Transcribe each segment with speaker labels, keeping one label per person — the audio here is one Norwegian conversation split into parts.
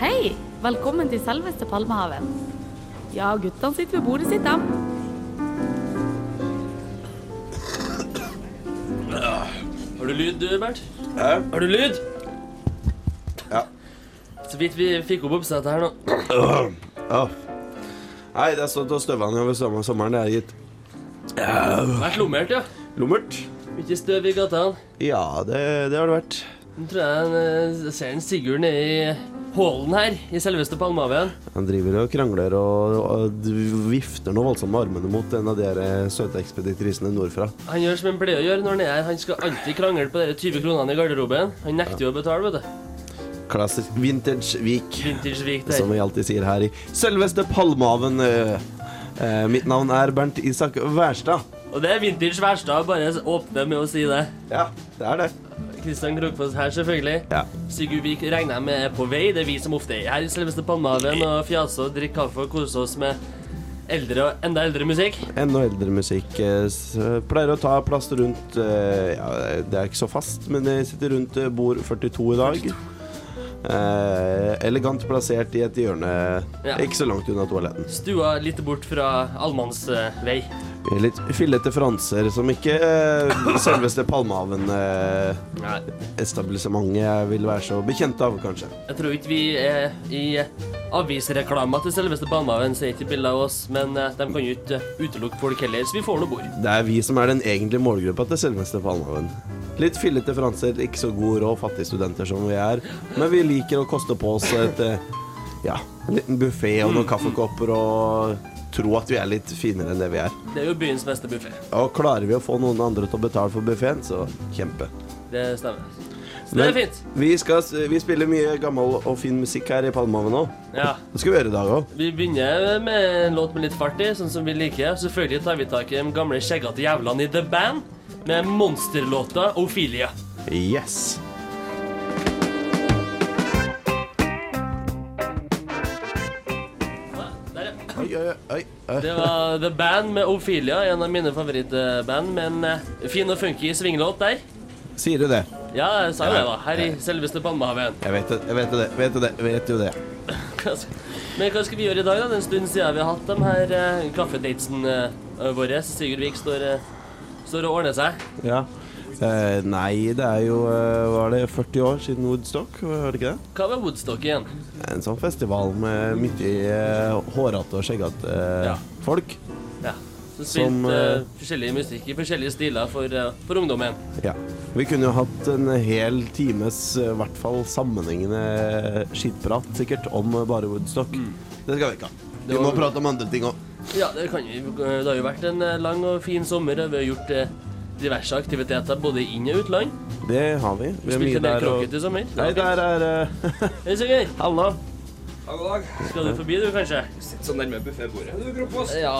Speaker 1: Hei! Velkommen til selveste Palmehaven. Ja, guttene sitter ved bordet sitt, dem.
Speaker 2: Har du lyd, du, Bert?
Speaker 3: Hæ?
Speaker 2: Har du lyd?
Speaker 3: Ja.
Speaker 2: Så vidt vi fikk opp oppsettet her nå.
Speaker 3: Åh. Nei, det har stått og støva ned over sommer- sommeren, det er gitt.
Speaker 2: Vært lommert, ja.
Speaker 3: Lummert?
Speaker 2: Mye støv i gatene.
Speaker 3: Ja, det, det har det vært.
Speaker 2: Nå tror jeg en, eh, ser en Sigurd nede i hallen her, i selveste Palmehaven.
Speaker 3: Han driver og krangler og, og vifter noe voldsomt med armene mot en av de her eh, søte ekspeditrisene nordfra.
Speaker 2: Han gjør som han pleier å gjøre når han er her. Han skal alltid krangle på de 20 kronene i garderoben. Han nekter jo å betale, vet du.
Speaker 3: Klassisk vintage Vik,
Speaker 2: Vintage-vik
Speaker 3: som
Speaker 2: der.
Speaker 3: vi alltid sier her i selveste Palmehaven. eh. Eh, Mitt navn er Bernt Isak Wærstad.
Speaker 2: Og det er vintage Wærstad, bare åpne med å si det.
Speaker 3: Ja, det er det.
Speaker 2: Kristian Krogfoss her, selvfølgelig.
Speaker 3: Ja.
Speaker 2: Sigurd Vik regner jeg med er på vei. Det er vi som ofte er her i selveste Palmehaven og fjaser og drikker kaffe og koser oss med eldre og enda eldre musikk.
Speaker 3: Enda eldre musikk. eh, s- Pleier å ta plass rundt eh, ja, Det er ikke så fast, men jeg sitter rundt eh, bord 42 i dag. Eh, elegant plassert i et hjørne
Speaker 2: Ja.
Speaker 3: ikke så langt unna toaletten.
Speaker 2: Stua litt bort fra eh, allmannsvei.
Speaker 3: Vi er Litt fillete franser som ikke eh, selveste Palmehaven-etablissementet
Speaker 2: Nei,
Speaker 3: vil være så bekjent av, kanskje.
Speaker 2: jeg tror ikke vi er i avisreklama til selveste Palmehaven, ser ikke bilder av oss, men eh, de kan jo ikke utelukke folk heller, så vi får nå bord.
Speaker 3: Det er vi som er den egentlige målgruppa til selveste Palmehaven. Litt fillete franser, ikke så god råd, fattige studenter som vi er. Men vi liker å koste på oss et eh, Ja, en liten buffé og noen kaffekopper og tro at vi er litt finere enn det vi er.
Speaker 2: Det er jo byens beste buffé.
Speaker 3: Og klarer vi å få noen andre til å betale for buffeen, så kjempe.
Speaker 2: Det stemmer. Så det er fint.
Speaker 3: Vi, skal, s- vi spiller mye gammel og fin musikk her i Palmehaven nå.
Speaker 2: Ja.
Speaker 3: Det skal vi gjøre i dag òg.
Speaker 2: Vi begynner med en låt med litt fart i, sånn som vi liker. Selvfølgelig tar vi tak i de gamle skjeggete jævlene i The Band med monsterlåta Ophelia.
Speaker 3: Yes.
Speaker 2: Der, ja.
Speaker 3: Oi, oi, oi. oi.
Speaker 2: Det var The Band med Ophelia, en av mine favorittband. Men eh, fin og funky svinglåt der.
Speaker 3: Sier du det?
Speaker 2: Ja, jeg sa jo det, da. Her i selveste Palmehaven.
Speaker 3: Jeg vet det. Jeg vet det. Vet det. Vet jo det.
Speaker 2: Men hva skal vi gjøre i dag, da? Det er en stund siden vi har hatt de her eh, kaffedatesene eh, våre. Sigurd Vik står, eh, står og ordner seg.
Speaker 3: Ja. Eh, nei, det er jo eh, Var det 40 år siden Woodstock? Var det ikke det?
Speaker 2: Hva med Woodstock igjen?
Speaker 3: En sånn festival med mye eh, hårete og skjeggete eh,
Speaker 2: Ja.
Speaker 3: folk.
Speaker 2: Ja. Som
Speaker 3: Som,
Speaker 2: spilte eh,
Speaker 3: eh,
Speaker 2: forskjellig musikk i forskjellige stiler for, eh, for ungdommen.
Speaker 3: Ja. Vi kunne jo hatt en hel times, eh, i hvert fall sammenhengende skitprat, sikkert, om eh, bare Woodstock. Det skal vi ikke ha. Vi
Speaker 2: Mm. Det var-
Speaker 3: må prate om andre ting òg.
Speaker 2: Ja, det kan vi. Det har jo vært en eh, lang og fin sommer. og Vi har gjort eh, diverse aktiviteter både inn- og utland.
Speaker 3: Det har vi.
Speaker 2: Vi
Speaker 3: er
Speaker 2: spilte en del
Speaker 3: der og-
Speaker 2: krokket i sommer.
Speaker 3: Nei, der er eh,
Speaker 2: Hei, Sigurd.
Speaker 3: Halla.
Speaker 2: Skal du forbi, du, kanskje?
Speaker 4: Sitt så nærme buffébordet. Du, Gropås.
Speaker 2: Ja.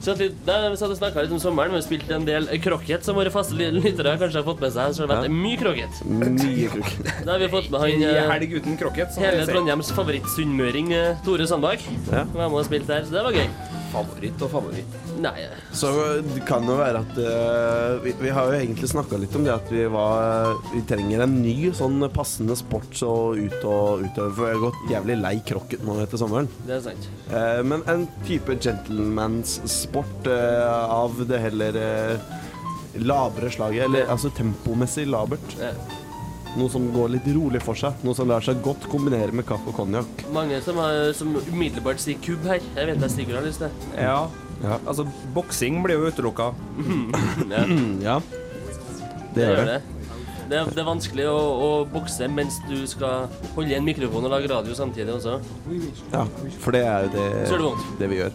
Speaker 2: Så at vi, nei, vi satt og snakka litt om sommeren. Vi spilte en del krokket, som våre faste lyttere kanskje har fått med seg. Så det har vært mye krokket.
Speaker 3: Mye krok.
Speaker 2: Da har vi fått med han
Speaker 4: En
Speaker 2: eh,
Speaker 4: helg uten krokket. som
Speaker 2: hele
Speaker 4: jeg sier.
Speaker 2: Trondheims favorittsunnmøring, eh, Tore Sandbakk.
Speaker 3: Ja.
Speaker 2: Var med og spilte der, så det var gøy.
Speaker 4: Favoritt og favoritt.
Speaker 2: Nei,
Speaker 3: Så eh, det kan jo være at eh, vi, vi har jo egentlig snakka litt om det at vi var eh, Vi trenger en ny sånn passende sport så ut og utøve, for jeg har gått jævlig lei krokket nå etter sommeren.
Speaker 2: det er sant.
Speaker 3: Eh, men en type gentlemansport uh, av det heller eh, labre slaget, eller altså tempomessig labert.
Speaker 2: Ja.
Speaker 3: Noe som går litt rolig for seg, noe som lar seg godt kombinere med kaffe og konjakk.
Speaker 2: Mange som, har, som umiddelbart sier kubb her. Jeg vet jeg Sigurd har lyst til.
Speaker 4: Ja.
Speaker 3: Ja.
Speaker 4: Altså, boksing blir jo utelukka.
Speaker 3: Mm, Ja.
Speaker 2: Det
Speaker 3: Det gjør det.
Speaker 2: det. Det er, det er vanskelig å, å bokse mens du skal holde i en mikrofon og lage radio samtidig også.
Speaker 3: Ja, for det er jo det,
Speaker 2: Så gjør det vondt.
Speaker 3: det vi gjør.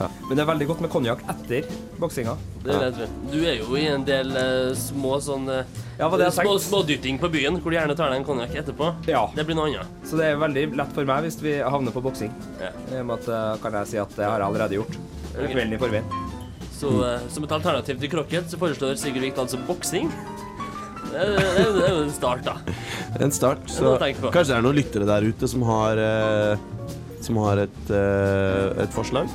Speaker 4: Men det er veldig godt med konjakk etter boksinga.
Speaker 2: Det er det jeg tror. Du er jo i en del eh, små sånn eh,
Speaker 4: Ja, hva det jeg
Speaker 2: små,
Speaker 4: tenkte.
Speaker 2: smådytting på byen, hvor du gjerne tar deg en konjakk etterpå.
Speaker 4: Ja.
Speaker 2: Det blir noe annet.
Speaker 4: Så det er veldig lett for meg hvis vi havner på boksing.
Speaker 2: Ja.
Speaker 4: I og med at eh, kan jeg si at det har jeg allerede gjort.
Speaker 2: Ok.
Speaker 4: Kvelden i forveien.
Speaker 2: Så eh, som et alternativ til krokket så foreslår Sigurd Vikt altså boksing. Det er det er- det er jo en start, da.
Speaker 3: En start.
Speaker 2: noe
Speaker 3: Så
Speaker 2: å tenke på.
Speaker 3: kanskje det er noen lyttere der ute som har, eh, som har et, eh, et forslag.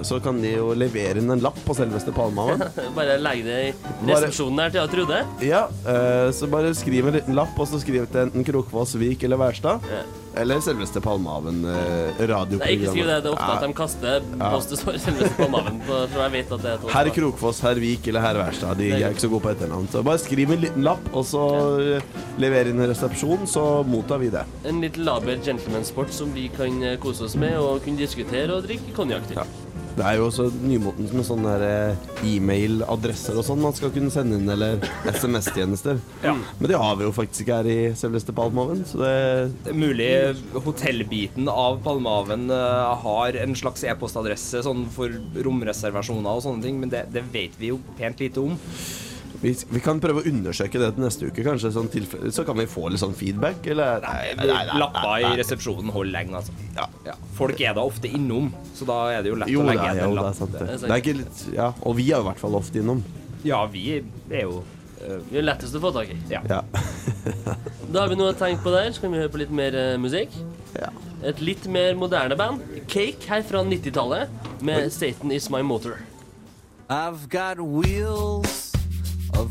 Speaker 3: Så kan de jo levere inn en lapp på selveste Palmehaven.
Speaker 2: Bare legg det i
Speaker 3: Bare-
Speaker 2: resepsjonen her til jeg Trude.
Speaker 3: Ja, eh, så bare skriv en liten lapp, og så skriv til enten Krokfoss, Vik eller Wærstad.
Speaker 2: Ja.
Speaker 3: Eller selveste Palmehaven eh, radioprogrammet.
Speaker 2: Nei, ikke skriv det. Det er ofte at de kaster post det står selveste på navnet. Så tror jeg vet at det er et
Speaker 3: Herr Krokfoss, herr Vik eller herr Wærstad. De er ikke så gode på etternavn. Så bare skriv en liten lapp, og så eh, lever inn i resepsjonen, så mottar vi det.
Speaker 2: En litt laber gentleman-sport som vi kan eh, kose oss med og kunne diskutere og drikke konjakk til.
Speaker 3: Ja. Det er jo også nymotens med sånne der, eh, e-mailadresser og sånn man skal kunne sende inn, eller SMS-tjenester. Men det har vi jo faktisk ikke her i selveste Palmehaven, så det
Speaker 4: Det er Mulig hotellbiten av Palmehaven eh, har en slags e-postadresse sånn for romreservasjoner og sånne ting, men det, det vet vi jo pent lite om.
Speaker 3: vi, vi kan prøve å undersøke det til neste uke, kanskje, sånn tilfelle, så kan vi få litt sånn feedback, eller Nei, nei, nei, nei.
Speaker 4: Lappa i resepsjonen holder lenge, altså.
Speaker 3: Ja.
Speaker 4: Ja. Folk er da ofte innom, så da er det jo lett
Speaker 3: Jo,
Speaker 4: å
Speaker 3: det
Speaker 4: legge
Speaker 3: er,
Speaker 4: igjen
Speaker 3: jo,
Speaker 4: en
Speaker 3: det er
Speaker 4: lapp.
Speaker 3: sant, det. det er ikke litt, ja, og vi er jo i hvert fall ofte innom.
Speaker 4: Ja, vi er jo eh,
Speaker 2: Det er lettest å få tak i.
Speaker 4: ja.
Speaker 3: Ja.
Speaker 2: Da har vi noe å tenke på der. Så kan vi høre på litt mer eh, musikk.
Speaker 3: ja.
Speaker 2: Et litt mer moderne band. Cake her fra 90-tallet med Satan Is My Motor.
Speaker 5: I've got wheels of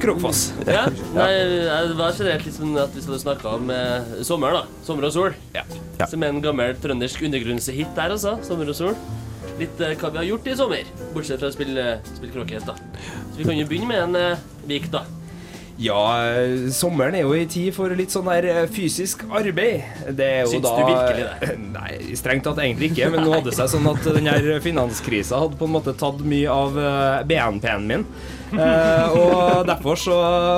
Speaker 4: Krokfoss.
Speaker 2: Ja? Nei, jeg- det var generelt litt sånn at vi skulle snakke om eh, sommer, da. Sommer og sol.
Speaker 4: Ja.
Speaker 3: Ja.
Speaker 2: Som er en gammel trøndersk undergrunnshit der, altså. Sommer og sol. Litt eh, hva vi har gjort i sommer, bortsett fra å spille, spille krokket, da. Så vi kan jo begynne med en eh, vik, da.
Speaker 4: ja, eh, sommeren er jo ei tid for litt sånn der eh, fysisk arbeid. Det er jo
Speaker 2: Syns
Speaker 4: da
Speaker 2: du virkelig det?
Speaker 4: Nei, strengt tatt egentlig ikke, men nå hadde det seg sånn at den her finanskrisa hadde på en måte tatt mye av eh, BNP-en min. Eh, og derfor så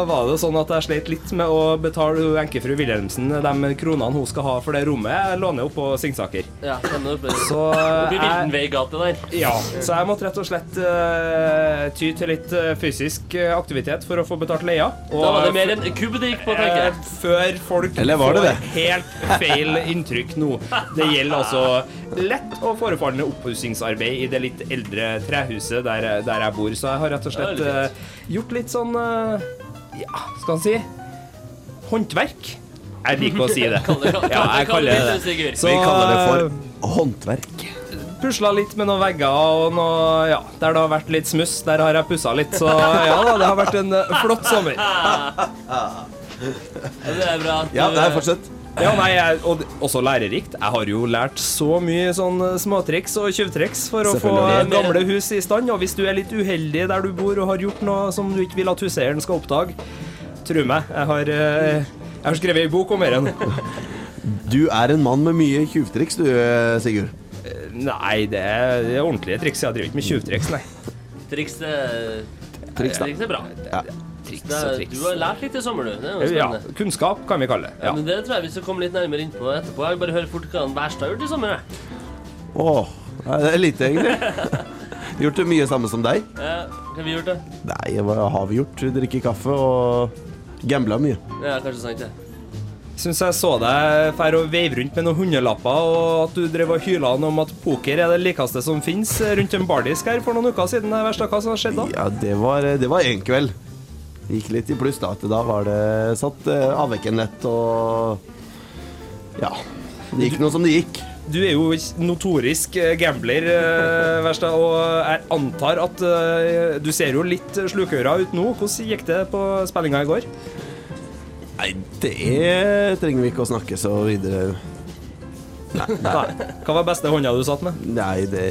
Speaker 4: var det sånn at jeg slet litt med å betale hun enkefru Wilhelmsen de kronene hun skal ha for det rommet jeg låner opp på Singsaker.
Speaker 2: Ja, kan du oppe
Speaker 4: Så eh,
Speaker 2: oppe i
Speaker 4: jeg-
Speaker 2: Vildenvei gate der.
Speaker 4: Ja, så jeg måtte rett og slett eh, ty til litt eh, fysisk eh, aktivitet for å få betalt leia. Og
Speaker 2: Da var det mer en kubb det gikk på, tenker
Speaker 4: eh,
Speaker 2: jeg.
Speaker 4: før folk
Speaker 3: Eller var det
Speaker 4: får helt feil inntrykk nå. Det gjelder altså lett og forefallende oppussingsarbeid i det litt eldre trehuset der, der jeg bor. Så jeg har rett og slett
Speaker 2: Det er litt
Speaker 4: eh, gjort litt sånn eh, Ja, skal en si håndverk. Jeg liker å si det.
Speaker 2: Kall det- kall det-
Speaker 4: Ja, jeg
Speaker 2: kall det
Speaker 4: kaller det
Speaker 2: litt, Sigurd.
Speaker 4: Så,
Speaker 3: Vi kaller det for håndverk.
Speaker 4: Pusla litt med noen vegger og noe, ja, der det har vært litt smuss, der har jeg pussa litt. Så ja da, det har vært en eh, flott sommer.
Speaker 2: Ja, Det er bra at
Speaker 3: Ja,
Speaker 2: du,
Speaker 3: nei,
Speaker 2: eh,
Speaker 3: fortsett.
Speaker 4: Ja, nei, jeg, og det- også lærerikt. Jeg har jo lært så mye sånn eh, småtriks og tjuvtriks for å få eh,
Speaker 3: Selvfølgelig.
Speaker 4: gamle hus i stand. Og hvis du er litt uheldig der du bor og har gjort noe som du ikke vil at huseieren skal oppdage, tro meg, jeg har, eh, jeg har skrevet ei bok om dette.
Speaker 3: Du er en mann med mye tjuvtriks, du, eh, Sigurd.
Speaker 4: Nei, det er, det er ordentlige triks. Jeg driver ikke med tjuvtriks, nei.
Speaker 2: Triks, eh,
Speaker 3: Triks, da.
Speaker 2: triks er bra.
Speaker 3: Ja.
Speaker 4: Triks
Speaker 2: Det
Speaker 4: og
Speaker 2: er, du har
Speaker 4: triks.
Speaker 2: lært litt i sommer, du. Det er jo
Speaker 4: Ja,
Speaker 2: spennende.
Speaker 4: kunnskap kan vi kalle det.
Speaker 2: Ja.
Speaker 4: Ja.
Speaker 2: Men det tror jeg vi skal komme litt nærmere inn på etterpå. Jeg vil bare høre fort hva han verste har gjort i sommer. jeg.
Speaker 3: Åh, nei, det er lite, egentlig. Gjort det mye samme som deg?
Speaker 2: Eh, hva har vi gjort, da?
Speaker 3: Nei, hva har vi gjort? Drikke kaffe og gambla mye.
Speaker 2: Ja, kanskje sant, det.
Speaker 4: Syns jeg så deg fære og veive rundt med noen hundelapper, og at du drev og hyla han om at poker er det likeste som fins rundt en bardisk her for noen uker siden. Det verste hva som har skjedd da?
Speaker 3: Ja, det var, det var en kveld. Gikk litt i pluss da, at da var det satt eh, avvekken lett og Ja. Det gikk noe som det gikk.
Speaker 4: Du er jo notorisk eh, gambler, eh, Verstad, og jeg antar at eh, du ser jo litt slukøra ut nå. Hvordan gikk det på spillinga i går?
Speaker 3: Nei, det trenger vi ikke å snakke så videre
Speaker 4: Nei. Hva var beste hånda du satt med?
Speaker 3: Nei, det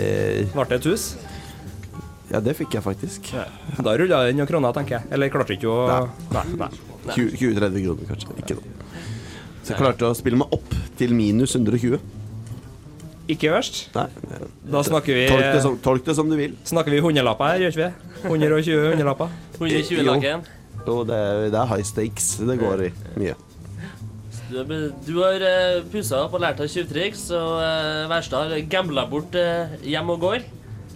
Speaker 4: Ble det et hus?
Speaker 3: Ja, det fikk jeg faktisk.
Speaker 4: Da rulla det inn noen kroner, tenker jeg. Eller klarte ikke å Nei. Nei.
Speaker 3: 20-30 kroner, kanskje. Ikke noe. Så jeg klarte å spille meg opp til minus 120.
Speaker 4: Ikke verst.
Speaker 3: Nei.
Speaker 4: Da snakker vi
Speaker 3: Tolk det som, tolk det som du vil.
Speaker 4: Snakker vi hundelapper her, gjør ikke vi? 120 hundelapper.
Speaker 2: 120
Speaker 3: Jo.
Speaker 2: laken.
Speaker 3: Jo, det er, det er high stakes det går i mye.
Speaker 2: Du, har be- du har uh, pussa opp og lært deg tjuvtriks, og uh, Wærstad har gambla bort eh, hjem og går.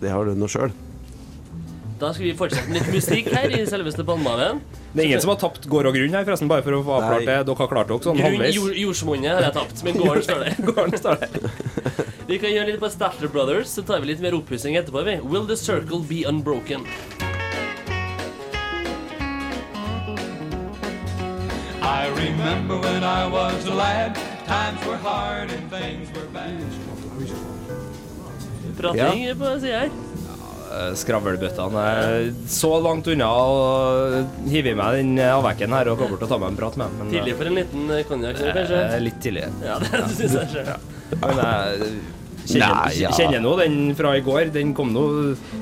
Speaker 3: Det har du nå sjøl.
Speaker 2: Da skal vi fortsette med litt musikk her i selveste Palmehaven.
Speaker 4: Det er ingen som har tapt gård og grunn her, forresten, bare for å få avklart
Speaker 3: Nei.
Speaker 4: det. Dere har klart dere sånn
Speaker 2: Grunn
Speaker 4: halvveis.
Speaker 2: jord, jordsmonnet har jeg tapt, men gården står der.
Speaker 4: Gården står der.
Speaker 2: Vi kan gjøre litt på Starter Brothers, så tar vi litt mer oppussing etterpå. vi. Will the circle be unbroken?
Speaker 6: I remember when I was a lad, times were hard and things were bad.
Speaker 2: Prating på sida her.
Speaker 4: Eh, Skravlebøttene er så langt unna og hiver i meg den eh, avvekken her og kommer til å ta meg en prat med dem. men, eh,
Speaker 2: Tidlig for en liten eh, konjakk, så, kanskje?
Speaker 4: eh, Litt tidlig.
Speaker 2: Ja, det synes jeg selv.
Speaker 4: Men jeg kjenner,
Speaker 3: Nei, ja.
Speaker 4: kjenner nå den fra i går. Den kom nå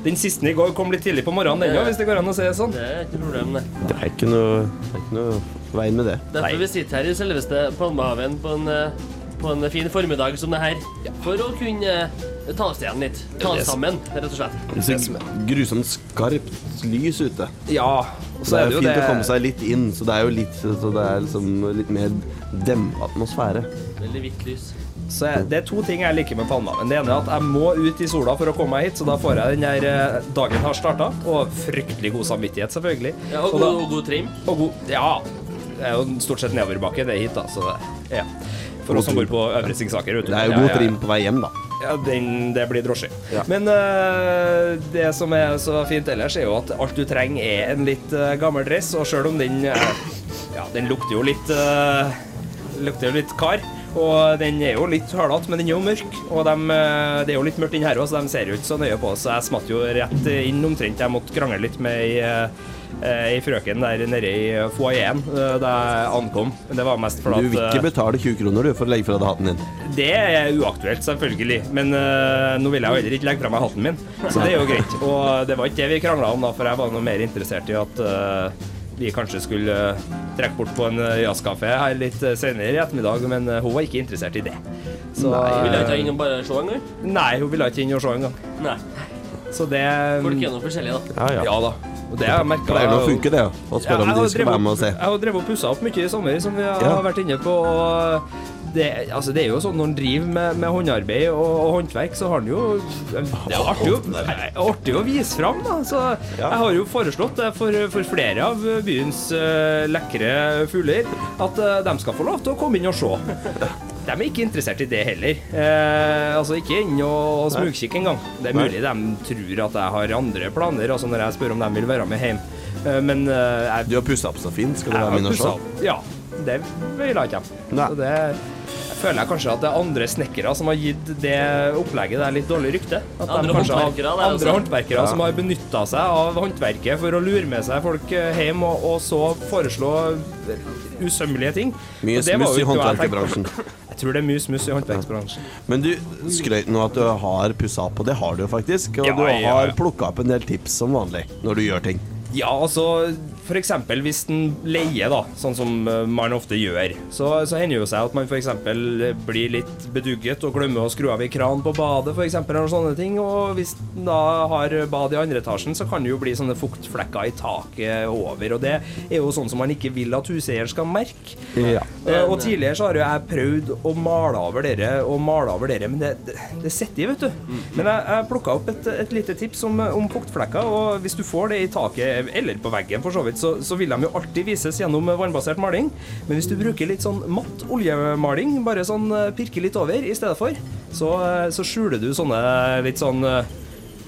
Speaker 4: Den siste i går kom litt tidlig på morgenen, den òg, hvis det går an å si det sånn.
Speaker 2: Det er ikke noe problem, det.
Speaker 3: Det er ikke noe, det er ikke noe veien med det.
Speaker 2: Derfor vi sitter her i selveste Palmehaven på en, eh, på en fin formiddag som det her. For å kunne eh, ta oss igjen litt. Ta oss
Speaker 4: Yes.
Speaker 2: sammen, rett og slett.
Speaker 3: Det er grusomt skarpt lys ute.
Speaker 4: Ja. Og så
Speaker 3: det
Speaker 4: er
Speaker 3: er
Speaker 4: det
Speaker 3: jo
Speaker 4: jo
Speaker 3: fint
Speaker 4: det
Speaker 3: å komme seg litt inn, så det er jo litt, så det er liksom litt mer dempa atmosfære.
Speaker 2: Veldig hvitt lys.
Speaker 4: Så jeg, det er to ting jeg liker med Palmehaven. Det ene er at jeg må ut i sola for å komme meg hit, så da får jeg den der eh, dagen har starta, og fryktelig god samvittighet, selvfølgelig.
Speaker 2: Ja, og,
Speaker 4: da,
Speaker 2: god, og god trim.
Speaker 4: og god Ja. Det er jo stort sett nedoverbakke, det er hit, da, så det ja. For
Speaker 3: God
Speaker 4: oss som bor
Speaker 3: trim.
Speaker 4: på Øvre Singsaker. vet du.
Speaker 3: Det er jo
Speaker 4: Ja,
Speaker 3: god
Speaker 4: ja, ja.
Speaker 3: trim på vei hjem, da.
Speaker 4: Ja, den, det blir drosje.
Speaker 3: Ja.
Speaker 4: Men eh, det som er så fint ellers, er jo at alt du trenger er en litt eh, gammel dress, og sjøl om den eh, Ja, den lukter jo litt eh, Lukter jo litt kar. Og den er jo litt hølete, men den er jo mørk. Og dem, eh, det er jo litt mørkt inni her òg, så de ser jo ikke så nøye på oss. Så jeg smatt jo rett inn omtrent. Jeg måtte krangle litt med ei eh, ei frøken der nede i foajeen eh, da jeg ankom. Men det var mest
Speaker 3: Du
Speaker 4: fordi
Speaker 3: vil
Speaker 4: at, eh,
Speaker 3: ikke betale 20 kroner du, for å legge fra deg hatten din.
Speaker 4: det er uaktuelt, selvfølgelig. Men øh, nå vil jeg jo heller ikke legge fra meg hatten min, så det er jo greit. Og det var ikke det vi krangla om, da, for jeg var noe mer interessert i at øh, vi kanskje skulle øh, trekke bort på en øh, jazzkafé her litt øh, senere i ettermiddag, men øh, hun var ikke interessert i det. Så
Speaker 3: Nei,
Speaker 2: Vil jeg
Speaker 4: øh,
Speaker 2: ikke innom bare se en gang?
Speaker 4: nei, hun ville ikke inn og se engang.
Speaker 2: Nei.
Speaker 4: Så det
Speaker 2: Folk er nå forskjellige, da.
Speaker 3: Ja, ja.
Speaker 4: Ja da. Og det har jeg merka.
Speaker 3: Pleier nå å funke, det, å
Speaker 4: Ja,
Speaker 3: spørre om de skal
Speaker 4: drevet
Speaker 3: være med
Speaker 4: opp-
Speaker 3: og se.
Speaker 4: Jeg har drevet og pussa opp mye i sommer, som vi har
Speaker 3: Ja.
Speaker 4: vært inne på. Og det, altså, det er jo sånn når en driver med, med håndarbeid og, og håndverk, så har en jo Det er artig, å- artig å vise fram, da. Så jeg har jo foreslått det for, for flere av byens eh, lekre fugler, at eh, de skal få lov til å komme inn og se. De er ikke interessert i det heller. Eh, altså Ikke inn og og smugkikke engang. Det er mulig de tror at jeg har andre planer altså når jeg spør om de vil være med hjem. Eh, men eh, jeg
Speaker 3: Du har pussa opp så fint. Skal du
Speaker 4: jeg
Speaker 3: være
Speaker 4: har
Speaker 3: med og
Speaker 4: pussa
Speaker 3: se?
Speaker 4: opp. Ja, det vil jeg ikke.
Speaker 3: Nei.
Speaker 4: Så det jeg føler jeg kanskje at det er andre snekkere som har gitt det opplegget der litt dårlig rykte. At de
Speaker 2: Andre
Speaker 4: kanskje har-
Speaker 2: håndverkere, det er
Speaker 4: andre
Speaker 2: også.
Speaker 4: håndverkere som har benytta seg av håndverket for å lure med seg folk eh, hjem og, og så foreslå usømmelige ting.
Speaker 3: Mye
Speaker 4: Og det var
Speaker 3: smuss
Speaker 4: jo
Speaker 3: i
Speaker 4: ikke hva jeg tenkte.
Speaker 3: håndverkerbransjen.
Speaker 4: Jeg tror det er mye smuss i håndverksbransjen.
Speaker 3: Men du skrøt nå at du har pussa opp, og det har du jo faktisk. Og
Speaker 4: Ja,
Speaker 3: du
Speaker 4: ja, ja.
Speaker 3: har plukka opp en del tips som vanlig når du gjør ting.
Speaker 4: Ja, altså for eksempel hvis den leier, da, sånn som eh, man ofte gjør, så, så hender jo seg at man for eksempel eh, blir litt bedugget og glemmer å skru av i kran på badet, for eksempel, eller sånne ting. Og hvis den da har bad i andre etasjen, så kan det jo bli sånne fuktflekker i taket over, og det er jo sånn som man ikke vil at huseier skal merke.
Speaker 3: Ja.
Speaker 4: Eh, Og tidligere så har jo jeg prøvd å male over dere og male over dere, men det, det, det sitter i, vet du. Men jeg, jeg plukka opp et, et lite tips om, om fuktflekker, og hvis du får det i taket eller på veggen for så vidt, så, så vil de jo alltid vises gjennom vannbasert maling. Men hvis du bruker litt sånn matt oljemaling, bare sånn eh, pirker litt over i stedet for, så, eh, så skjuler du sånne litt sånn eh,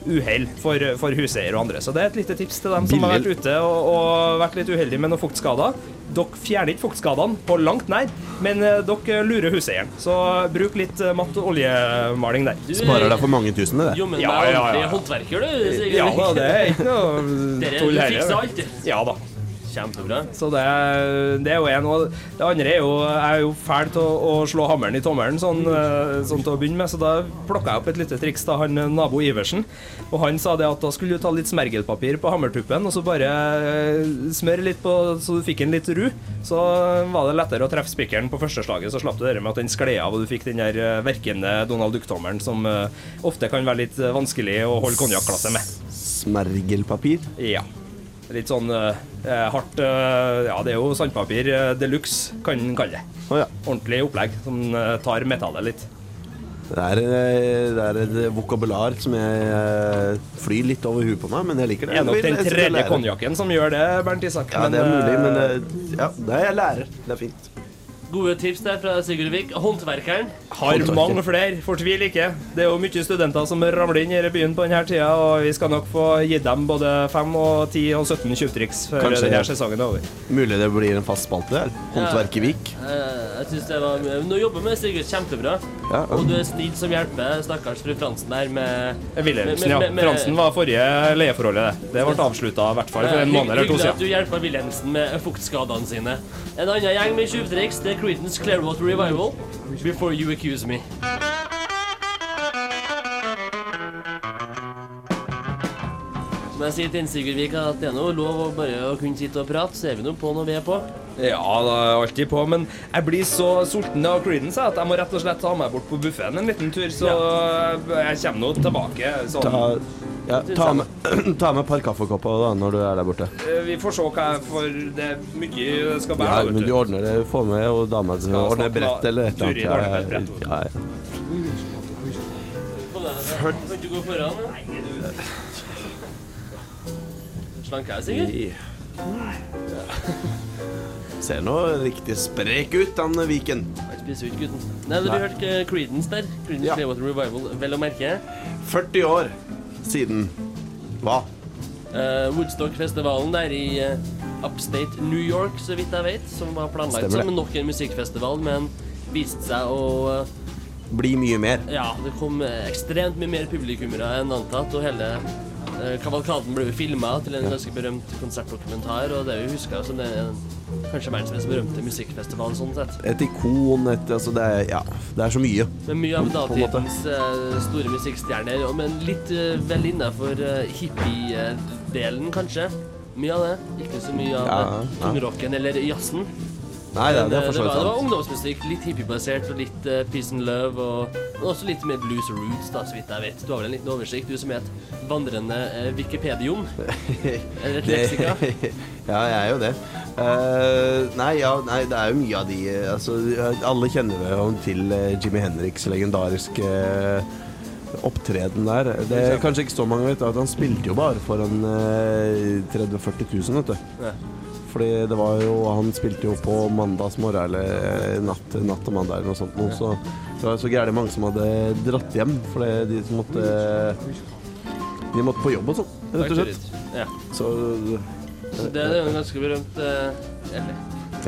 Speaker 4: uhell for, for huseier og andre. Så det er et lite tips til dem som har
Speaker 3: Billig.
Speaker 4: vært ute og, og vært litt uheldige med noen fuktskader. Dere fjerner ikke fuktskadene på langt nær, men eh, dere lurer huseieren. Så bruk litt eh, matt oljemaling der.
Speaker 2: Du,
Speaker 3: Sparer deg for mange tusen med det.
Speaker 2: Jommen meg
Speaker 4: Ja, ja, ja,
Speaker 2: ordentlig
Speaker 4: ja.
Speaker 2: håndverker, du. Sigurd.
Speaker 4: Ja da, det er ikke noe
Speaker 2: Dere,
Speaker 4: tull
Speaker 2: du
Speaker 4: her,
Speaker 2: fikser
Speaker 4: ja.
Speaker 2: alt. du.
Speaker 4: Ja da.
Speaker 2: Kjempebra.
Speaker 4: Så det, er- det er jo en. Og det andre er jo Jeg er jo fæl til å, å slå hammeren i tommelen sånn, eh, sånn til å begynne med, så da plukka jeg opp et lite triks da han eh, nabo Iversen. Og han sa det at da skulle du ta litt smergelpapir på hammertuppen, og så bare eh, smøre litt på så du fikk en litt ru. Så var det lettere å treffe spikeren på første slaget, så slapp du det der med at den skled av, og du fikk den der eh, verkende Donald Duck-tommelen som eh, ofte kan være litt eh, vanskelig å holde konjakkglasset med.
Speaker 3: Smergelpapir.
Speaker 4: Ja. Litt sånn eh, eh, hardt eh, Ja, det er jo sandpapir uh, de luxe, eh, kan en kalle det.
Speaker 3: Å ja.
Speaker 4: Ordentlig opplegg som eh, tar metallet litt.
Speaker 3: Det er, eh, det er et vokabular som jeg eh, flyr litt over huet på meg, men jeg liker det.
Speaker 4: Det er nok
Speaker 3: Jeg
Speaker 4: den
Speaker 3: skal
Speaker 4: tredje
Speaker 3: lære.
Speaker 4: konjakken som gjør det, Bernt Isak.
Speaker 3: Ja, det er mulig, men
Speaker 4: eh,
Speaker 3: eh, ja, det er jeg lærer. Det er fint.
Speaker 2: Gode tips der fra Sigurd Vik. Håndverkeren.
Speaker 4: Har mange flere, fortvil ikke. Det er jo mye studenter som ramler inn i denne byen på denne tida, og vi skal nok få gitt dem både 5 og 10 og 17 tjuvtriks før
Speaker 3: Kanskje.
Speaker 4: denne sesongen er over.
Speaker 3: Mulig det blir en fast spalte her. Håndverk i Vik.
Speaker 2: Eh, jeg synes det var Nå jobber med Sigurd kjempebra.
Speaker 3: Ja,
Speaker 2: Og du er snill som hjelper stakkars fru Fransen der med
Speaker 4: Wilhelmsen,
Speaker 2: Men-
Speaker 4: ja.
Speaker 2: men- men-
Speaker 4: Fransen var forrige leieforholdet, det. Det ble avslutta i hvert fall for en
Speaker 2: Eh,
Speaker 4: måned eller to
Speaker 2: Hyggelig at
Speaker 4: siden.
Speaker 2: du hjelper Wilhelmsen med fuktskadene sine. En annen gjeng med tjuvtriks det er Creedence Clearwater Revival. Before you accuse me. Som jeg sier til Sigurd Vik, at det er noe lov å bare å kunne sitte og prate, så er vi nå på når vi er på.
Speaker 4: Ja, da er jeg alltid på, men jeg blir så sulten av Creedence jeg, at jeg må rett og slett ta meg bort på buffeen en liten tur, så jeg kommer nå tilbake sånn.
Speaker 3: Ta, ja, ta, med, ta med et par kaffekopper da, når du er der borte.
Speaker 4: Eh, Vi får se hva jeg får Det er mye jeg skal
Speaker 3: Ja,
Speaker 4: bære. vet
Speaker 3: men
Speaker 4: du.
Speaker 3: du ordner det. Få med og dama til å
Speaker 4: Skal
Speaker 3: ordne
Speaker 4: snakke
Speaker 3: brett
Speaker 4: med
Speaker 3: eller et
Speaker 4: Turid
Speaker 3: eller
Speaker 4: ordner med et
Speaker 3: annet.
Speaker 4: brett,
Speaker 3: Ja, ja.
Speaker 2: Kom deg, da. Kan du gå foran? da? Slank jeg, Sigurd?
Speaker 3: Ser nå riktig sprek ut, den Viken.
Speaker 2: Jeg spiser jo ikke gutten. Nei, du hørte eh, Creedence der. Creedence
Speaker 3: Ja.
Speaker 2: Clearwater Revival, vel å merke.
Speaker 3: 40 år siden. Hva?
Speaker 2: Eh, Woodstock-festivalen der i eh, Upstate New York, så vidt jeg vet, som var planlagt
Speaker 3: Stemmer det.
Speaker 2: som nok en musikkfestival, men viste seg å eh,
Speaker 3: Bli mye mer.
Speaker 2: Ja, det kom eh, ekstremt mye mer publikummere enn antatt, og hele eh, kavalkaden ble jo filma til en ganske berømt konsertdokumentar, og det er jo huska som det er kanskje verdens mest berømte musikkfestival sånn sett.
Speaker 3: Et ikon, et Altså, det er Ja, det er så mye.
Speaker 2: Men mye av
Speaker 3: På en måte.
Speaker 2: datidens eh, store musikkstjerner, og- men litt eh, vel innafor hippie-delen, kanskje. Mye av det. Ikke så mye av
Speaker 3: Ja,
Speaker 2: eh,
Speaker 3: ja.
Speaker 2: tungrocken eller jazzen.
Speaker 3: Nei, det,
Speaker 2: Men,
Speaker 3: det
Speaker 2: eh,
Speaker 3: er for
Speaker 2: det,
Speaker 3: så
Speaker 2: var,
Speaker 3: vidt
Speaker 2: det var
Speaker 3: sant.
Speaker 2: ungdomsmusikk, litt hippiebasert og litt eh, peace and love. Og, og også litt mer blues og roots, da, så vidt jeg vet. Du har vel en liten oversikt, du som er et vandrende eh, wikipedium? Eller et leksika?
Speaker 3: ja, jeg er jo det. Eh, nei, ja, nei, det er jo mye av de eh, Altså, alle kjenner jo til eh, Jimmy Henriks legendariske eh, opptreden der. Det er kanskje ikke så mange vet at han spilte jo bare for en eh, 30 000-40 000, vet du.
Speaker 2: Ja.
Speaker 3: Fordi det var jo Han spilte jo på mandagsmorgen eller eh, natt, natt til mandag eller noe sånt. noe, Så det var jo så gærent mange som hadde dratt hjem fordi de som måtte De måtte på jobb og sånn, rett og slett.
Speaker 2: Ja.
Speaker 3: Så
Speaker 2: Så det er jo en ganske berømt eh, eller,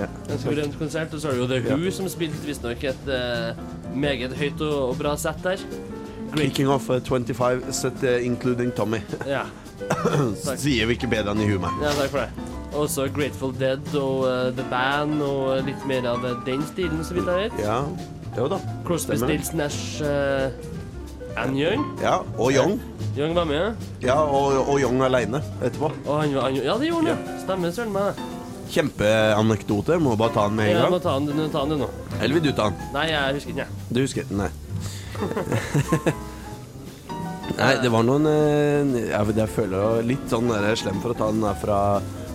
Speaker 3: ja.
Speaker 2: ganske berømt konsert. Og så er det jo The Who som spilte visstnok et eh, meget høyt og, og bra sett der.
Speaker 3: Kicking off eh, 25 set eh, including Tommy.
Speaker 2: Ja,
Speaker 3: Sier Wikipediaen i huet meg.
Speaker 2: ja takk for det. Også Grateful Dead og eh, The Band og litt mer av eh, den stilen, så vidt jeg vet.
Speaker 3: Ja. Jo da.
Speaker 2: Crosby,
Speaker 3: Stemmer det.
Speaker 2: Stills, Nash eh, and Young.
Speaker 3: Ja, og Young.
Speaker 2: Young var med,
Speaker 3: Ja, og, og Young aleine etterpå.
Speaker 2: og han var han, Ja, det gjorde han, ja. Stemmer søren meg.
Speaker 3: Kjempeanekdote. Må bare ta den med
Speaker 2: Jeg
Speaker 3: en
Speaker 2: må
Speaker 3: gang.
Speaker 2: ta han, nå ta han du nå.
Speaker 3: Eller vil du ta den?
Speaker 2: Nei, jeg husker ikke, jeg.
Speaker 3: Du husker den? Nei. Nei, det var noen eh, Jeg, vet- jeg føler jo litt sånn der slem for å ta den der fra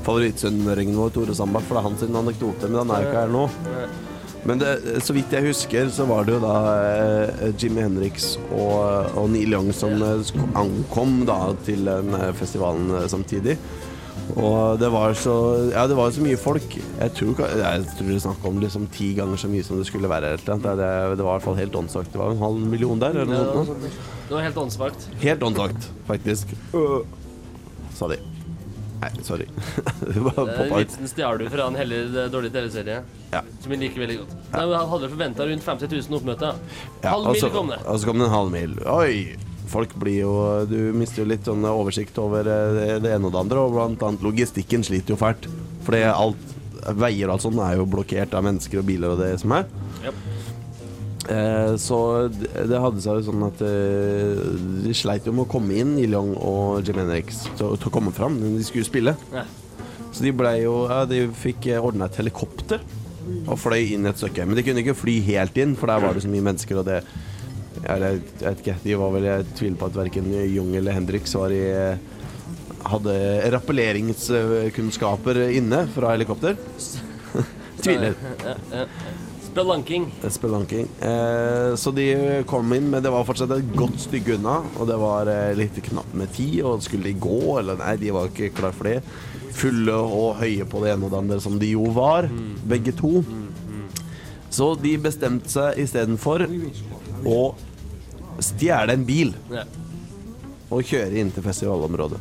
Speaker 3: favorittsønnmøringen vår, Tore Sandbakk, for det er hans anekdote, men han er jo ikke her nå. Men det, så vidt jeg husker, så var det jo da eh, Jimmy Henriks og, og Neil Young som eh, sk- ankom da til den eh, festivalen eh, samtidig. Og det var så Ja, det var jo så mye folk. Jeg tror, ka- jeg tror det er snakk om liksom ti ganger så mye som det skulle være. Eller noe. Det, det, det var i hvert fall helt åndssvakt. Det var en halv million der, eller noe sånt. nå.
Speaker 2: Det var sånn. helt åndssvakt.
Speaker 3: Helt åndssvakt, faktisk. Øh, Sa de. Nei, sorry. det bare
Speaker 2: Den
Speaker 3: poppa ut.
Speaker 2: Eh, vitsen stjal du fra en heller eh, dårlig TV-serie.
Speaker 3: Ja.
Speaker 2: Som jeg liker veldig godt. Nei, men Han hadde forventa rundt 50 000 oppmøter.
Speaker 3: Ja, altså-
Speaker 2: Halv
Speaker 3: og
Speaker 2: mil
Speaker 3: så-
Speaker 2: kom det.
Speaker 3: Og så kom det en halv mil. Oi! Folk blir jo Du mister jo litt sånn oversikt over eh, det, det ene og det andre, og blant annet logistikken sliter jo fælt. Fordi alt Veier og alt sånt er jo blokkert av mennesker og biler og det som er.
Speaker 2: Japp.
Speaker 3: Eh, så det det hadde seg jo sånn at eh, de sleit jo med å komme inn, Neil Young og Jim Henriks, til å til å komme fram når de skulle spille.
Speaker 2: Ja.
Speaker 3: Så de blei jo ja, De fikk ordna et helikopter og fløy inn et stykke. Men de kunne ikke fly helt inn, for der var det så mye mennesker, og det ja, det- Jeg vet ikke. De var vel Jeg tviler på at verken Jung eller Hendrix var i eh, hadde rappelleringskunnskaper inne fra helikopter. Tviler.
Speaker 2: Ja, ja.
Speaker 3: Så
Speaker 2: Spelunking.
Speaker 3: Spelunking. Eh, så de kom inn, men det var fortsatt et godt stykke unna. Og det var eh, litt knapt med tid, og skulle de gå, eller nei, de var ikke klar for det. Fulle og høye på det ene og det andre, som de jo var, begge to. Så de bestemte seg istedenfor å stjele en bil
Speaker 2: Ja.
Speaker 3: og kjøre inn til festivalområdet.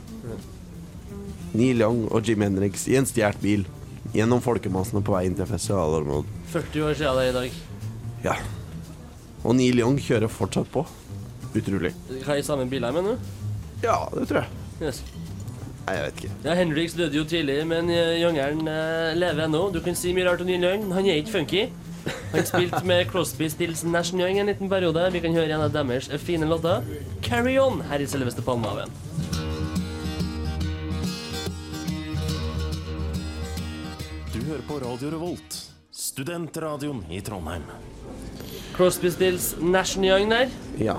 Speaker 3: Neil Young og Jim Henriks i en stjålet bil gjennom folkemassene på vei inn til festivalområdet.
Speaker 2: 40 år siden det er i dag.
Speaker 3: Ja. Og Neil Young kjører fortsatt på. Utrolig.
Speaker 2: Hva er i samme bil her, mener du?
Speaker 3: Ja, det tror jeg.
Speaker 2: Yes.
Speaker 3: Nei, jeg vet ikke.
Speaker 2: Ja, Henriks døde jo tidlig, men eh, jungelen eh, lever ennå. Du kan si mye rart om Neil Young, men han er ikke funky. Han spilte med Crosby, Stills, Nash Young en liten periode. Vi kan høre en av deres fine låter, 'Carry On', her i selveste Palmehaven.
Speaker 7: Du hører på Radio Revolt, studentradioen i Trondheim.
Speaker 2: Crosby, Stills, Nash Young der.
Speaker 3: Ja.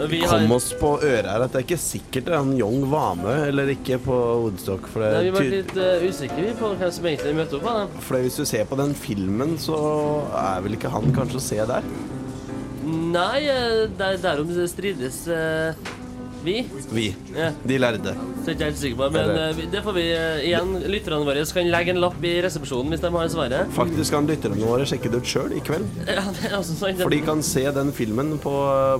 Speaker 2: Og vi har,
Speaker 3: Kom oss på øret her at det er ikke sikkert han Young var med eller ikke på Woodstock. For,
Speaker 2: Nei, vi
Speaker 3: det,
Speaker 2: ble
Speaker 3: ty-
Speaker 2: litt eh, usikre vi, på hvem som egentlig møtte opp. Da.
Speaker 3: for hvis du ser på den filmen, så er vel ikke han kanskje å se der?
Speaker 2: Nei, eh, der, derom strides eh, vi.
Speaker 3: Vi.
Speaker 2: Ja,
Speaker 3: De lærde.
Speaker 2: så er ikke jeg helt sikker på, men
Speaker 3: Eller-
Speaker 2: eh, vi- det får vi eh, igjen. Lytterne våre kan legge en lapp i resepsjonen hvis de har svaret.
Speaker 3: Faktisk kan lytterne våre sjekke det ut sjøl i kveld.
Speaker 2: Ja, det er altså sånn også sant.
Speaker 3: For de kan se den filmen på,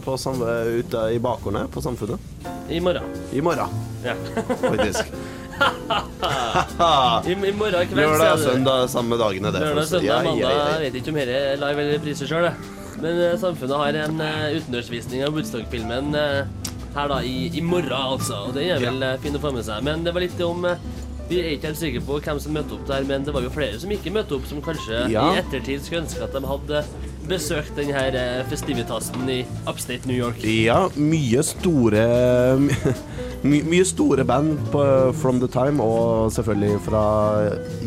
Speaker 3: på sam- ute i bakgården her på Samfunnet
Speaker 2: I morgen.
Speaker 3: i morgen,
Speaker 2: Ja.
Speaker 3: faktisk.
Speaker 2: I, I morgen kveld så
Speaker 3: Lørdag
Speaker 2: er
Speaker 3: og
Speaker 2: Ah. det-
Speaker 3: søndag samme dagene. det,
Speaker 2: Lørdag,
Speaker 3: forresten.
Speaker 2: søndag,
Speaker 3: Ja, ja,
Speaker 2: mandag.
Speaker 3: ja, ja.
Speaker 2: Jeg vet ikke om dette er live eller reprise sjøl, men eh, Samfunnet har en eh, utendørsvisning av Woodstock-filmen eh, her da i, i morgen, altså. Og den er vel eh, fin å få med seg. Men det var litt om eh, vi er ikke helt sikre på hvem som møtte opp der, men det var jo flere som ikke møtte opp, som kanskje
Speaker 3: Ja.
Speaker 2: i ettertid skulle ønske at de hadde besøkt den her eh, festivitasen i Upstate New York.
Speaker 3: Ja, mye store my, Mye store band på, from the time, og selvfølgelig fra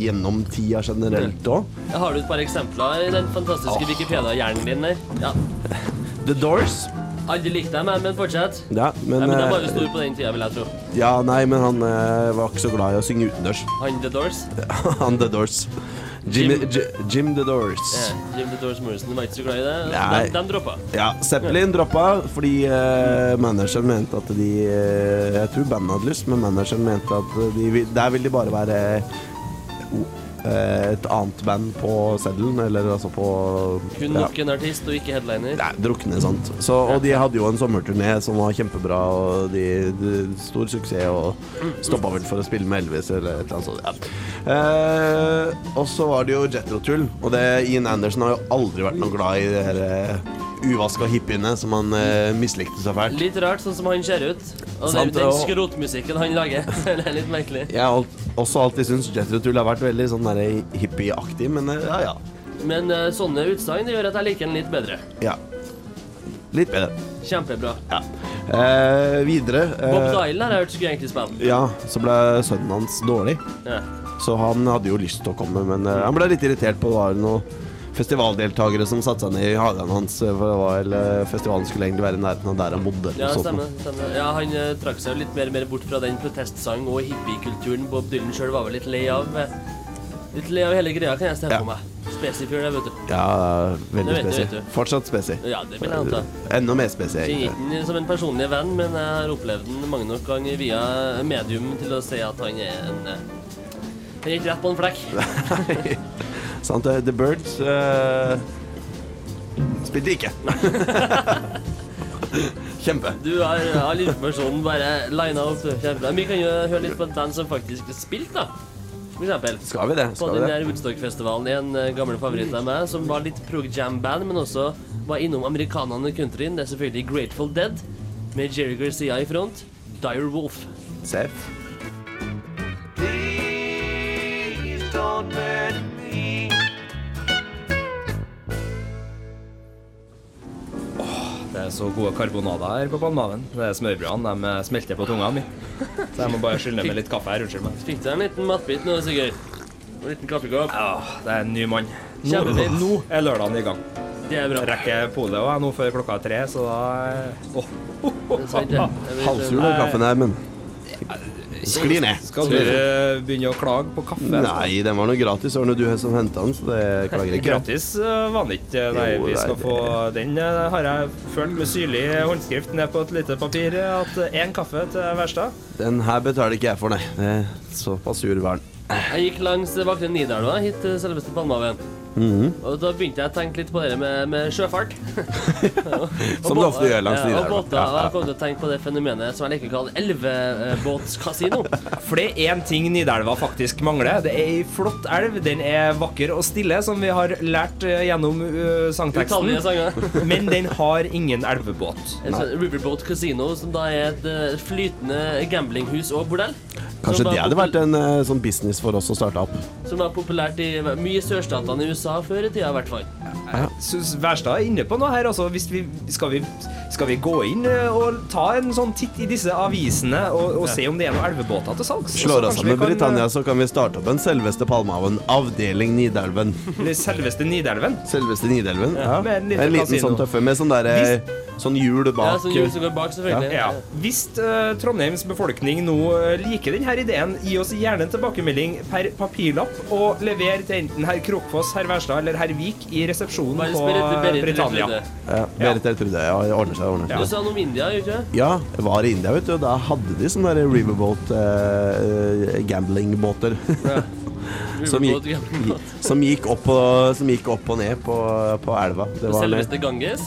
Speaker 3: gjennom tida generelt òg.
Speaker 2: Har du et par eksempler i den fantastiske Wikipedia-hjernen din der? Ja.
Speaker 3: The Doors.
Speaker 2: Aldri likte dem, jeg, men fortsett.
Speaker 3: Ja, men,
Speaker 2: Nei, men de var jo
Speaker 3: eh,
Speaker 2: store på den tida, vil jeg tro.
Speaker 3: ja, nei, men han eh, var ikke så glad i å synge utendørs.
Speaker 2: Han The Doors.
Speaker 3: han The Doors. Jim,
Speaker 2: Jim-
Speaker 3: J- Jim The Doors.
Speaker 2: Ja, Jim The Doors Morrison var ikke så glad i det.
Speaker 3: Nei.
Speaker 2: De, de droppa.
Speaker 3: Ja, Zeppelin droppa fordi eh, manageren mente at de eh, Jeg tror bandet hadde lyst, men manageren mente at de, vil- der vil de bare være eh, et annet band på seddelen, eller altså på
Speaker 2: Kun
Speaker 3: ja.
Speaker 2: nok en artist og ikke headliner.
Speaker 3: Nei, drukne, sant. Så, og de hadde jo en sommerturné som var kjempebra, og de, de stor suksess, og stoppa vel for å spille med Elvis eller et eller annet sånt. Ja. Eh, og så var det jo Jetro-tull, og det, Ian Anderson har jo aldri vært noe glad i de her eh, uvaska hippiene som han eh, mislikte så fælt.
Speaker 2: Litt rart, sånn som han ser ut. Og
Speaker 3: Sant,
Speaker 2: det, er jo den
Speaker 3: og-
Speaker 2: skrotmusikken han lager. det er litt merkelig.
Speaker 3: Jeg har alt, også alltid syntes Jetro-tull har vært veldig sånn der hippieaktig, men eh, ja, ja.
Speaker 2: Men eh, sånne utsagn det gjør at jeg liker den litt bedre.
Speaker 3: ja. Litt bedre.
Speaker 2: Kjempebra.
Speaker 3: Ja. Eh, videre
Speaker 2: Bob
Speaker 3: eh,
Speaker 2: Dylan har jeg hørt skulle egentlig spille.
Speaker 3: Ja, så ble sønnen hans dårlig.
Speaker 2: Ja.
Speaker 3: Så han hadde jo lyst til å komme, men eh, han ble litt irritert på det var noen festivaldeltakere som satte seg ned i hagen hans. eh, For det var, eller, festivalen skulle egentlig være i nærheten av der han bodde. eller
Speaker 2: Ja,
Speaker 3: sånt
Speaker 2: stemmer.
Speaker 3: noe.
Speaker 2: stemmer. Ja, Han eh, trakk seg jo litt mer, mer bort fra den protestsang- og hippiekulturen Bob Dylan sjøl var vel litt lei av. eh, Litt lei av hele greia, kan jeg se
Speaker 3: Ja.
Speaker 2: på meg. Spesifjør, det, vet du.
Speaker 3: Ja, veldig
Speaker 2: Det vet du,
Speaker 3: spesi.
Speaker 2: vet du.
Speaker 3: Fortsatt spesi.
Speaker 2: Ja, det vil jeg anta.
Speaker 3: Enda mer spesi,
Speaker 2: Kjenner
Speaker 3: egentlig.
Speaker 2: ikke han som en personlig venn, men jeg har opplevd han mange nok ganger via medium til å si at han er en eh, Han er ikke rett på en flekk.
Speaker 3: Sant, det? The Birds eh, spilte ikke. Kjempe.
Speaker 2: Du har all informasjonen bare lina opp. Kjempebra. Vi kan jo høre litt på den som faktisk spilte, da. For eksempel.
Speaker 3: Skal vi det?
Speaker 2: På
Speaker 3: Skal
Speaker 2: den
Speaker 3: vi det?
Speaker 2: der Woodstock-festivalen er en eh, gammel favoritt av meg, som var litt prog-jam-band, men også var innom amerikanerne i countryen. Det er selvfølgelig Grateful Dead, med Jerry Garcia i front. Dire Wolf.
Speaker 3: Safe.
Speaker 5: Please don't hurt me.
Speaker 4: Det er så gode karbonader her på Palmaven. Det er smørbrødene. De smelter på tunga mi. Så jeg må bare skylle ned med litt kaffe her. Unnskyld meg.
Speaker 2: Fikk deg en liten matbit nå, Sigurd? Og En liten kaffekopp.
Speaker 4: Åh, det er en ny mann. Nå,
Speaker 2: Kjempefint.
Speaker 4: nå er lørdagen i gang.
Speaker 2: Det er bra.
Speaker 4: Rekker polet òg nå før klokka er tre, så da Åh.
Speaker 2: Det er sant, det. Jeg vet, eh,
Speaker 3: Halvsur den kaffen her, men Skli ned.
Speaker 4: Skal dere begynne å klage på kaffe?
Speaker 3: Nei, den var noe gratis. Det var noe du som henta den, så det klager jeg ikke.
Speaker 4: Gratis eh, var den ikke. Nei,
Speaker 3: Jo,
Speaker 4: vi
Speaker 3: nei,
Speaker 4: skal
Speaker 3: det-
Speaker 4: få den. eh, har jeg følt med syrlig håndskrift ned på et lite papir eh, at én kaffe til Wærstad.
Speaker 3: Den her betaler ikke jeg for, nei. Det er såpass sur var den.
Speaker 2: Jeg gikk langs vakre Nidelva hit til selveste Palmehaven.
Speaker 3: Mhm.
Speaker 2: Og da begynte jeg å tenke litt på det med, med sjøfart.
Speaker 3: Som du ofte gjør langs
Speaker 2: Ja, Og
Speaker 3: Nidelva.
Speaker 2: båter. Og jeg kom til å tenke på det fenomenet som jeg liker å kalle elvebåtskasino.
Speaker 4: For det er én ting Nidelva faktisk mangler. Det er ei flott elv. Den er vakker og stille, som vi har lært eh, gjennom eh,
Speaker 2: Utallige
Speaker 4: sangteksten.
Speaker 2: sanger.
Speaker 4: Men den har ingen elvebåt.
Speaker 2: Et sånt Riverboat Casino, som da er et eh, flytende gamblinghus og bordell. Som
Speaker 3: Kanskje
Speaker 2: var
Speaker 3: det hadde
Speaker 2: popul-
Speaker 3: vært en eh, sånn business for oss å starte opp.
Speaker 2: Som var populært i mye i sørstatene i USA før i tida, i hvert fall.
Speaker 4: Synes Wærstad er inne på noe her, altså. Hvis vi, skal, vi, skal vi gå inn eh, og ta en sånn titt i disse avisene og, og se om det er noen elvebåter til salgs?
Speaker 3: Slår oss
Speaker 4: Kanskje
Speaker 3: sammen
Speaker 4: vi
Speaker 3: med
Speaker 4: kan, eh,
Speaker 3: Britannia, så kan vi starte opp en selveste Palmehaven. Avdeling Nidelven.
Speaker 4: Eller selveste Nidelven.
Speaker 3: Selveste Nidelven. Ja.
Speaker 4: Med en liten
Speaker 3: En liten
Speaker 4: kasino.
Speaker 3: sånn tøffe med sånn derre Sånn hjul
Speaker 2: Ja,
Speaker 3: bak.
Speaker 2: som hjul som går bak, selvfølgelig.
Speaker 4: Ja. Hvis eh, Trondheims befolkning nå eh, liker denne ideen, gi oss gjerne en tilbakemelding per papirlapp og lever til enten herr Krokfoss, herr Wærstad eller herr Vik i resepsjonen
Speaker 2: Bare
Speaker 4: på
Speaker 2: spør etter
Speaker 4: eh,
Speaker 2: Berit
Speaker 4: Britannia.
Speaker 2: Rødlude.
Speaker 3: Ja, Berit jeg trodde Ja, det ordner seg, det ordner
Speaker 2: Du
Speaker 3: seg.
Speaker 2: sa noe om India, gjorde du ikke?
Speaker 3: Ja, jeg var i India, vet du, og da hadde de sånne der riverboat eh, eh, gamblingbåter.
Speaker 2: det?
Speaker 3: Som
Speaker 2: Riverboat
Speaker 3: gikk-
Speaker 2: Gambling.
Speaker 3: som, gikk opp og, som gikk opp og ned på, på elva. Det var,
Speaker 2: Selveste Ganges.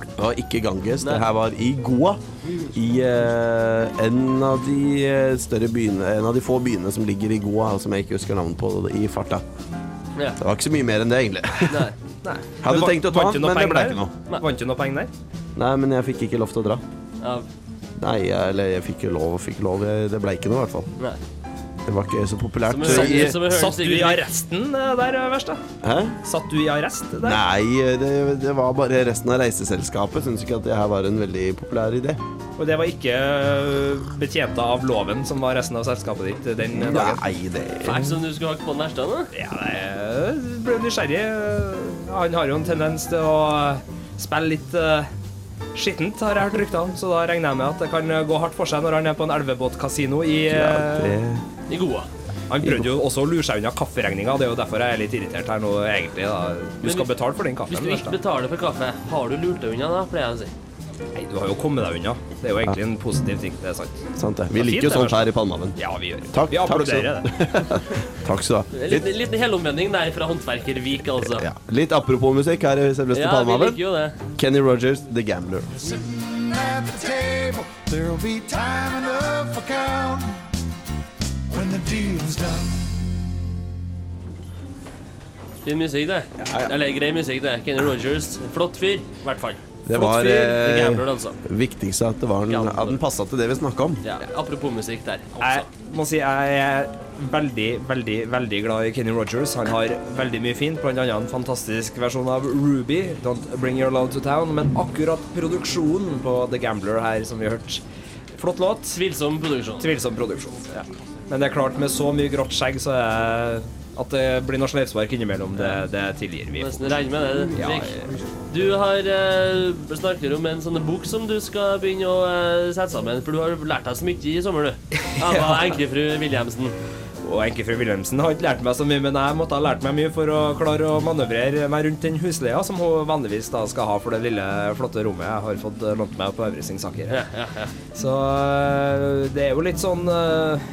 Speaker 3: det var ikke Ganges,
Speaker 2: Nei.
Speaker 3: det her var i Goa. I eh, en, av de eh, større byene, en av de få byene som ligger i Goa, og som jeg ikke husker navnet på i farta.
Speaker 2: Ja.
Speaker 3: Det var ikke så mye mer enn det, egentlig.
Speaker 2: Nei.
Speaker 4: Nei.
Speaker 3: Hadde
Speaker 4: Men
Speaker 3: tenkt å ta
Speaker 4: vant
Speaker 3: den,
Speaker 4: du
Speaker 3: men
Speaker 4: noe
Speaker 3: det
Speaker 4: penger
Speaker 3: ble
Speaker 4: der?
Speaker 3: ikke
Speaker 2: noe.
Speaker 4: Vant du noe penger der?
Speaker 3: Nei, men jeg fikk ikke lov til å dra.
Speaker 2: Ja.
Speaker 3: Nei, jeg, eller jeg fikk jo lov og fikk lov. Jeg- Det ble ikke noe, i hvert fall.
Speaker 2: Nei.
Speaker 3: Det var ikke så populært.
Speaker 2: Som vi hører- som vi hører
Speaker 4: Satt du i
Speaker 2: sikkert-
Speaker 4: arresten eh, der, Wærstad?
Speaker 3: Hæ?
Speaker 4: Satt du i arrest der?
Speaker 3: Nei, det, det var bare resten av reiseselskapet syntes ikke at det her var en veldig populær idé.
Speaker 4: Og det var ikke øh, betjenta av loven som var resten av selskapet ditt eh, den dagen?
Speaker 3: Nei, det
Speaker 2: Er det som du skulle hakke på den verste, da?
Speaker 4: Ja, jeg ble nysgjerrig. Han har jo en tendens til å spille litt øh, skittent, har jeg hørt rykter om, så da regner jeg med at det kan gå hardt for seg når han er på en elvebåtkasino i
Speaker 3: Ja,
Speaker 4: øh,
Speaker 3: det-
Speaker 2: I Goa.
Speaker 4: Han prøvde jo også å lure seg unna kafferegninga, det er jo derfor jeg er litt irritert her nå, egentlig. da. Du
Speaker 2: Men
Speaker 4: skal
Speaker 2: hvis-
Speaker 4: betale for den
Speaker 2: Hvis
Speaker 4: kaffen.
Speaker 2: du ikke
Speaker 4: Lars, da.
Speaker 2: betaler for kaffe, har du lurt deg unna da, pleier jeg å si.
Speaker 4: Nei, du har jo kommet deg unna. Det er jo egentlig en positiv ting, det er sant.
Speaker 3: sant det. Vi
Speaker 4: Det er
Speaker 3: liker jo
Speaker 4: fint,
Speaker 3: sånt
Speaker 4: det,
Speaker 3: her i Palmehaven.
Speaker 4: Ja, vi gjør det.
Speaker 3: Takk,
Speaker 4: Vi
Speaker 3: takk skal-
Speaker 4: applauderer det.
Speaker 3: Takk skal du ha.
Speaker 2: En
Speaker 3: Litt,
Speaker 2: liten, liten helomvending der fra Håndverkervik, altså.
Speaker 3: ja. Litt apropos musikk her i selveste
Speaker 2: Ja, vi
Speaker 3: Palmehaven.
Speaker 2: liker jo det.
Speaker 3: Kenny Rogers, The Gambler.
Speaker 6: Sitting at the table, there'll be time enough for counting when the deal's done.
Speaker 2: Fin musikk, det. Eller grei musikk, det. Kenny Rogers. Flott fyr, i hvert fall.
Speaker 3: Det var
Speaker 2: fyr, The
Speaker 3: eh,
Speaker 2: Gambler, altså.
Speaker 3: viktigste at det var den, at den passa til det vi snakka om.
Speaker 2: Ja, apropos musikk der.
Speaker 4: Jeg
Speaker 2: Altså.
Speaker 4: må si jeg er veldig, veldig, veldig glad i Kenny Rogers. Han har veldig mye fint, blant annet en fantastisk versjon av Ruby, Don't Bring Your Love to Town, men akkurat produksjonen på The Gambler her, som vi hørte Flott låt.
Speaker 2: Tvilsom produksjon.
Speaker 4: Tvilsom produksjon. Ja. Men det er klart, med så mye grått skjegg, så er at det blir noe sleivspark innimellom, det, det tilgir vi.
Speaker 2: Nesten regner med det.
Speaker 4: Ja,
Speaker 2: Fredrik. Du har eh, snakker om en sånn bok som du skal begynne å eh, sette sammen, for du har lært deg så mye i sommer, du. Av enkefru Wilhelmsen.
Speaker 4: Og enkefru Wilhelmsen har ikke lært meg så mye, men jeg måtte ha lært meg mye for å klare å manøvrere meg rundt den husleia som hun vanligvis da skal ha for det lille, flotte rommet jeg har fått lånt meg på Øvre Singsaker. Så øh, det er jo litt sånn øh,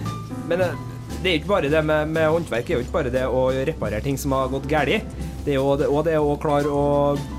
Speaker 4: Men øh, det er jo ikke bare det med, med håndverk, det er jo ikke bare det å reparere ting som har gått galt. Det er jo det, og det er å klare å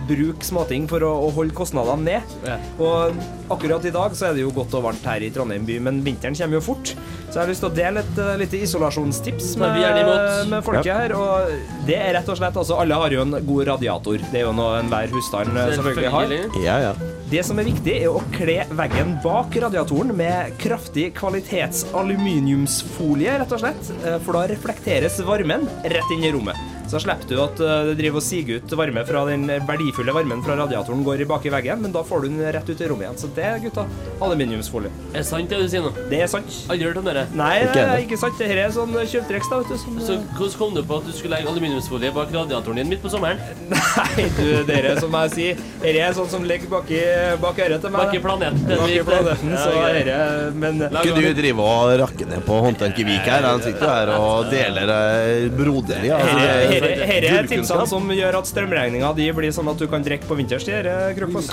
Speaker 4: bruke småting for å, å holde kostnadene ned.
Speaker 2: Ja.
Speaker 4: Og akkurat i dag så er det jo godt og varmt her i Trondheim by, men vinteren kommer jo fort. Så jeg har lyst til å dele et øh, lite isolasjonstips
Speaker 2: Tar vi gjerne
Speaker 4: med,
Speaker 2: imot.
Speaker 4: med folket her. Og det er rett og slett altså Alle har jo en god radiator. Det er jo noe enhver husstand øh, selvfølgelig har.
Speaker 3: Ja, ja.
Speaker 4: Det som er viktig, er å kle veggen bak radiatoren med kraftig kvalitets aluminiumsfolie, rett og slett. eh, For da reflekteres varmen rett inn i rommet. Så Så slipper du at eh, det driver og siger ut varme fra den verdifulle varmen fra radiatoren går i bak i veggen, men da får du den rett ut i rommet igjen. Så det, gutta, aluminiumsfolie.
Speaker 2: Er det sant det du sier nå?
Speaker 4: Det er sant.
Speaker 2: Aldri hørt om dere.
Speaker 4: Nei,
Speaker 3: Ikke
Speaker 4: det er
Speaker 3: heller.
Speaker 4: ikke sant. Dette er sånn kjøptrekks, da, vet du. Som,
Speaker 2: Så hvordan kom du på at du skulle legge aluminiumsfolie bak radiatoren din midt på sommeren?
Speaker 4: Nei, du, dere, som jeg sier. Dette er sånn som ligger bak, i- bak øret til meg.
Speaker 2: Bak i planeten. den
Speaker 4: Bak i
Speaker 2: gikk der.
Speaker 4: planeten, så
Speaker 2: Ja,
Speaker 4: dette Men
Speaker 3: Ikke du drive og rakke ned på håndverket Vik her? Han sitter jo her og deler eh, broderlig. Altså,
Speaker 4: Herre
Speaker 3: det er-
Speaker 4: herre- herre er tipsene
Speaker 3: gullkunnskap.
Speaker 4: som gjør at strømregninga di blir sånn at du kan drikke på vinterstid. herre Krokfoss.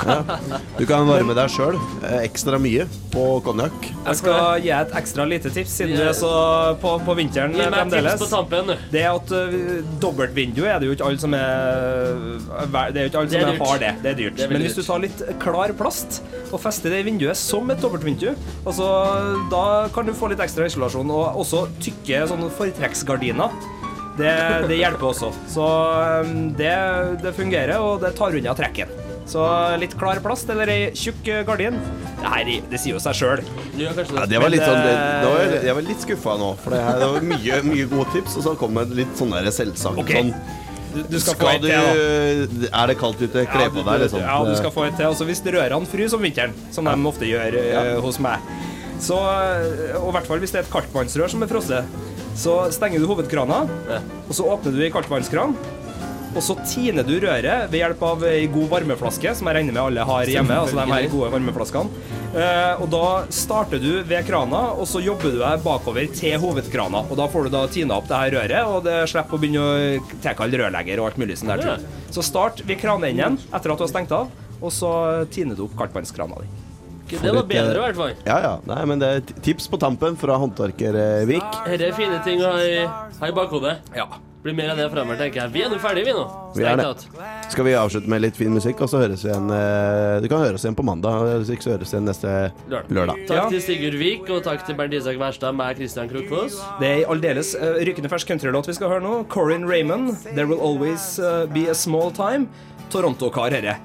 Speaker 3: Du kan varme deg sjøl ekstra mye på konjakk.
Speaker 4: Jeg skal gi et ekstra lite tips, siden du er så på, på vinteren
Speaker 2: Gi meg et tips
Speaker 4: fremdeles.
Speaker 2: på tampen. du.
Speaker 4: Det at uh, dobbeltvindu er det jo ikke alle som er eh, Det er jo ikke alle
Speaker 2: Det er
Speaker 4: som
Speaker 2: dyrt.
Speaker 4: har det. Det er dyrt.
Speaker 2: Det er veldig
Speaker 4: Men hvis du
Speaker 2: dyrt.
Speaker 4: tar litt klar plast og fester det i vinduet som et dobbeltvindu, altså, da kan du få litt ekstra isolasjon. Og også tykke sånne fortrekksgardiner. Det, det hjelper også. Så um, det, det fungerer, og det tar unna trekken. Så litt klar plast eller ei tjukk gardin. Nei, det sier jo seg sjøl.
Speaker 2: Du gjør kanskje
Speaker 3: Ja,
Speaker 2: det.
Speaker 3: det var litt sånn, det,
Speaker 4: eh,
Speaker 3: det var, jeg- jeg var litt skuffa nå, for det, her, det var mye, mye gode tips, og så kom det litt sånn der selvsagt
Speaker 4: Ok,
Speaker 3: sånn
Speaker 4: Du, du skal, få
Speaker 3: Skal
Speaker 4: et
Speaker 3: du
Speaker 4: til, da.
Speaker 3: Er det kaldt ute? Kle på deg, liksom.
Speaker 4: Ja, du skal få et til. Altså, hvis rørene fryser om vinteren, som de ofte gjør eh, hos meg, så, eh, og i hvert fall hvis det er et kaldtvannsrør som er frosset, så stenger du hovedkrana,
Speaker 2: Ja.
Speaker 4: og så åpner du i kaldtvannskran, og så tiner du røret ved hjelp av ei god varmeflaske, som jeg regner med alle har hjemme. altså de her gode varmeflaskene. Eh, og da starter du ved krana, og så jobber du deg bakover til hovedkrana. Og da får du da tina opp det her røret, og det slipper å begynne å tilkalle rørlegger og alt mulig sånn der.
Speaker 2: Ja.
Speaker 4: tull. Så start ved kraneenden etter at du har stengt av, og så tiner du opp kaldtvannskrana di.
Speaker 2: Det var
Speaker 4: eh,
Speaker 2: bedre, i hvert fall.
Speaker 3: Ja, ja. Nei, men det er t- tips på tampen fra håndverker eh, Vik.
Speaker 2: Dette er fine ting å ha i, ha i bakhodet.
Speaker 4: Ja.
Speaker 2: Blir mer av det fremover, tenker jeg. Vi er nå ferdige, vi nå.
Speaker 3: Vi er
Speaker 2: Strengt
Speaker 3: det.
Speaker 2: tatt.
Speaker 3: Skal vi avslutte med litt fin musikk, og så høres vi igjen eh, Du kan høre oss igjen på mandag, hvis ikke så høres vi igjen neste
Speaker 2: Lørdag.
Speaker 3: lørdag.
Speaker 2: Takk
Speaker 4: Ja.
Speaker 2: til Sigurd Vik, og takk til Bernt Isak Wærstad med Christian Krokfoss.
Speaker 4: Det er ei aldeles eh, rykende fersk countrylåt vi skal høre nå. Corin Raymond, 'There Will Always eh, Be A Small Time'. Toronto-kar, herre.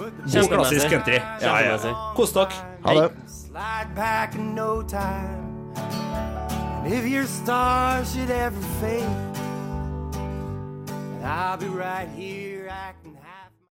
Speaker 4: God klassisk country. Ja, ja. Kos dere.
Speaker 3: Ha det.
Speaker 5: Slide back in no time. And if your star should ever fade, I'll be right here.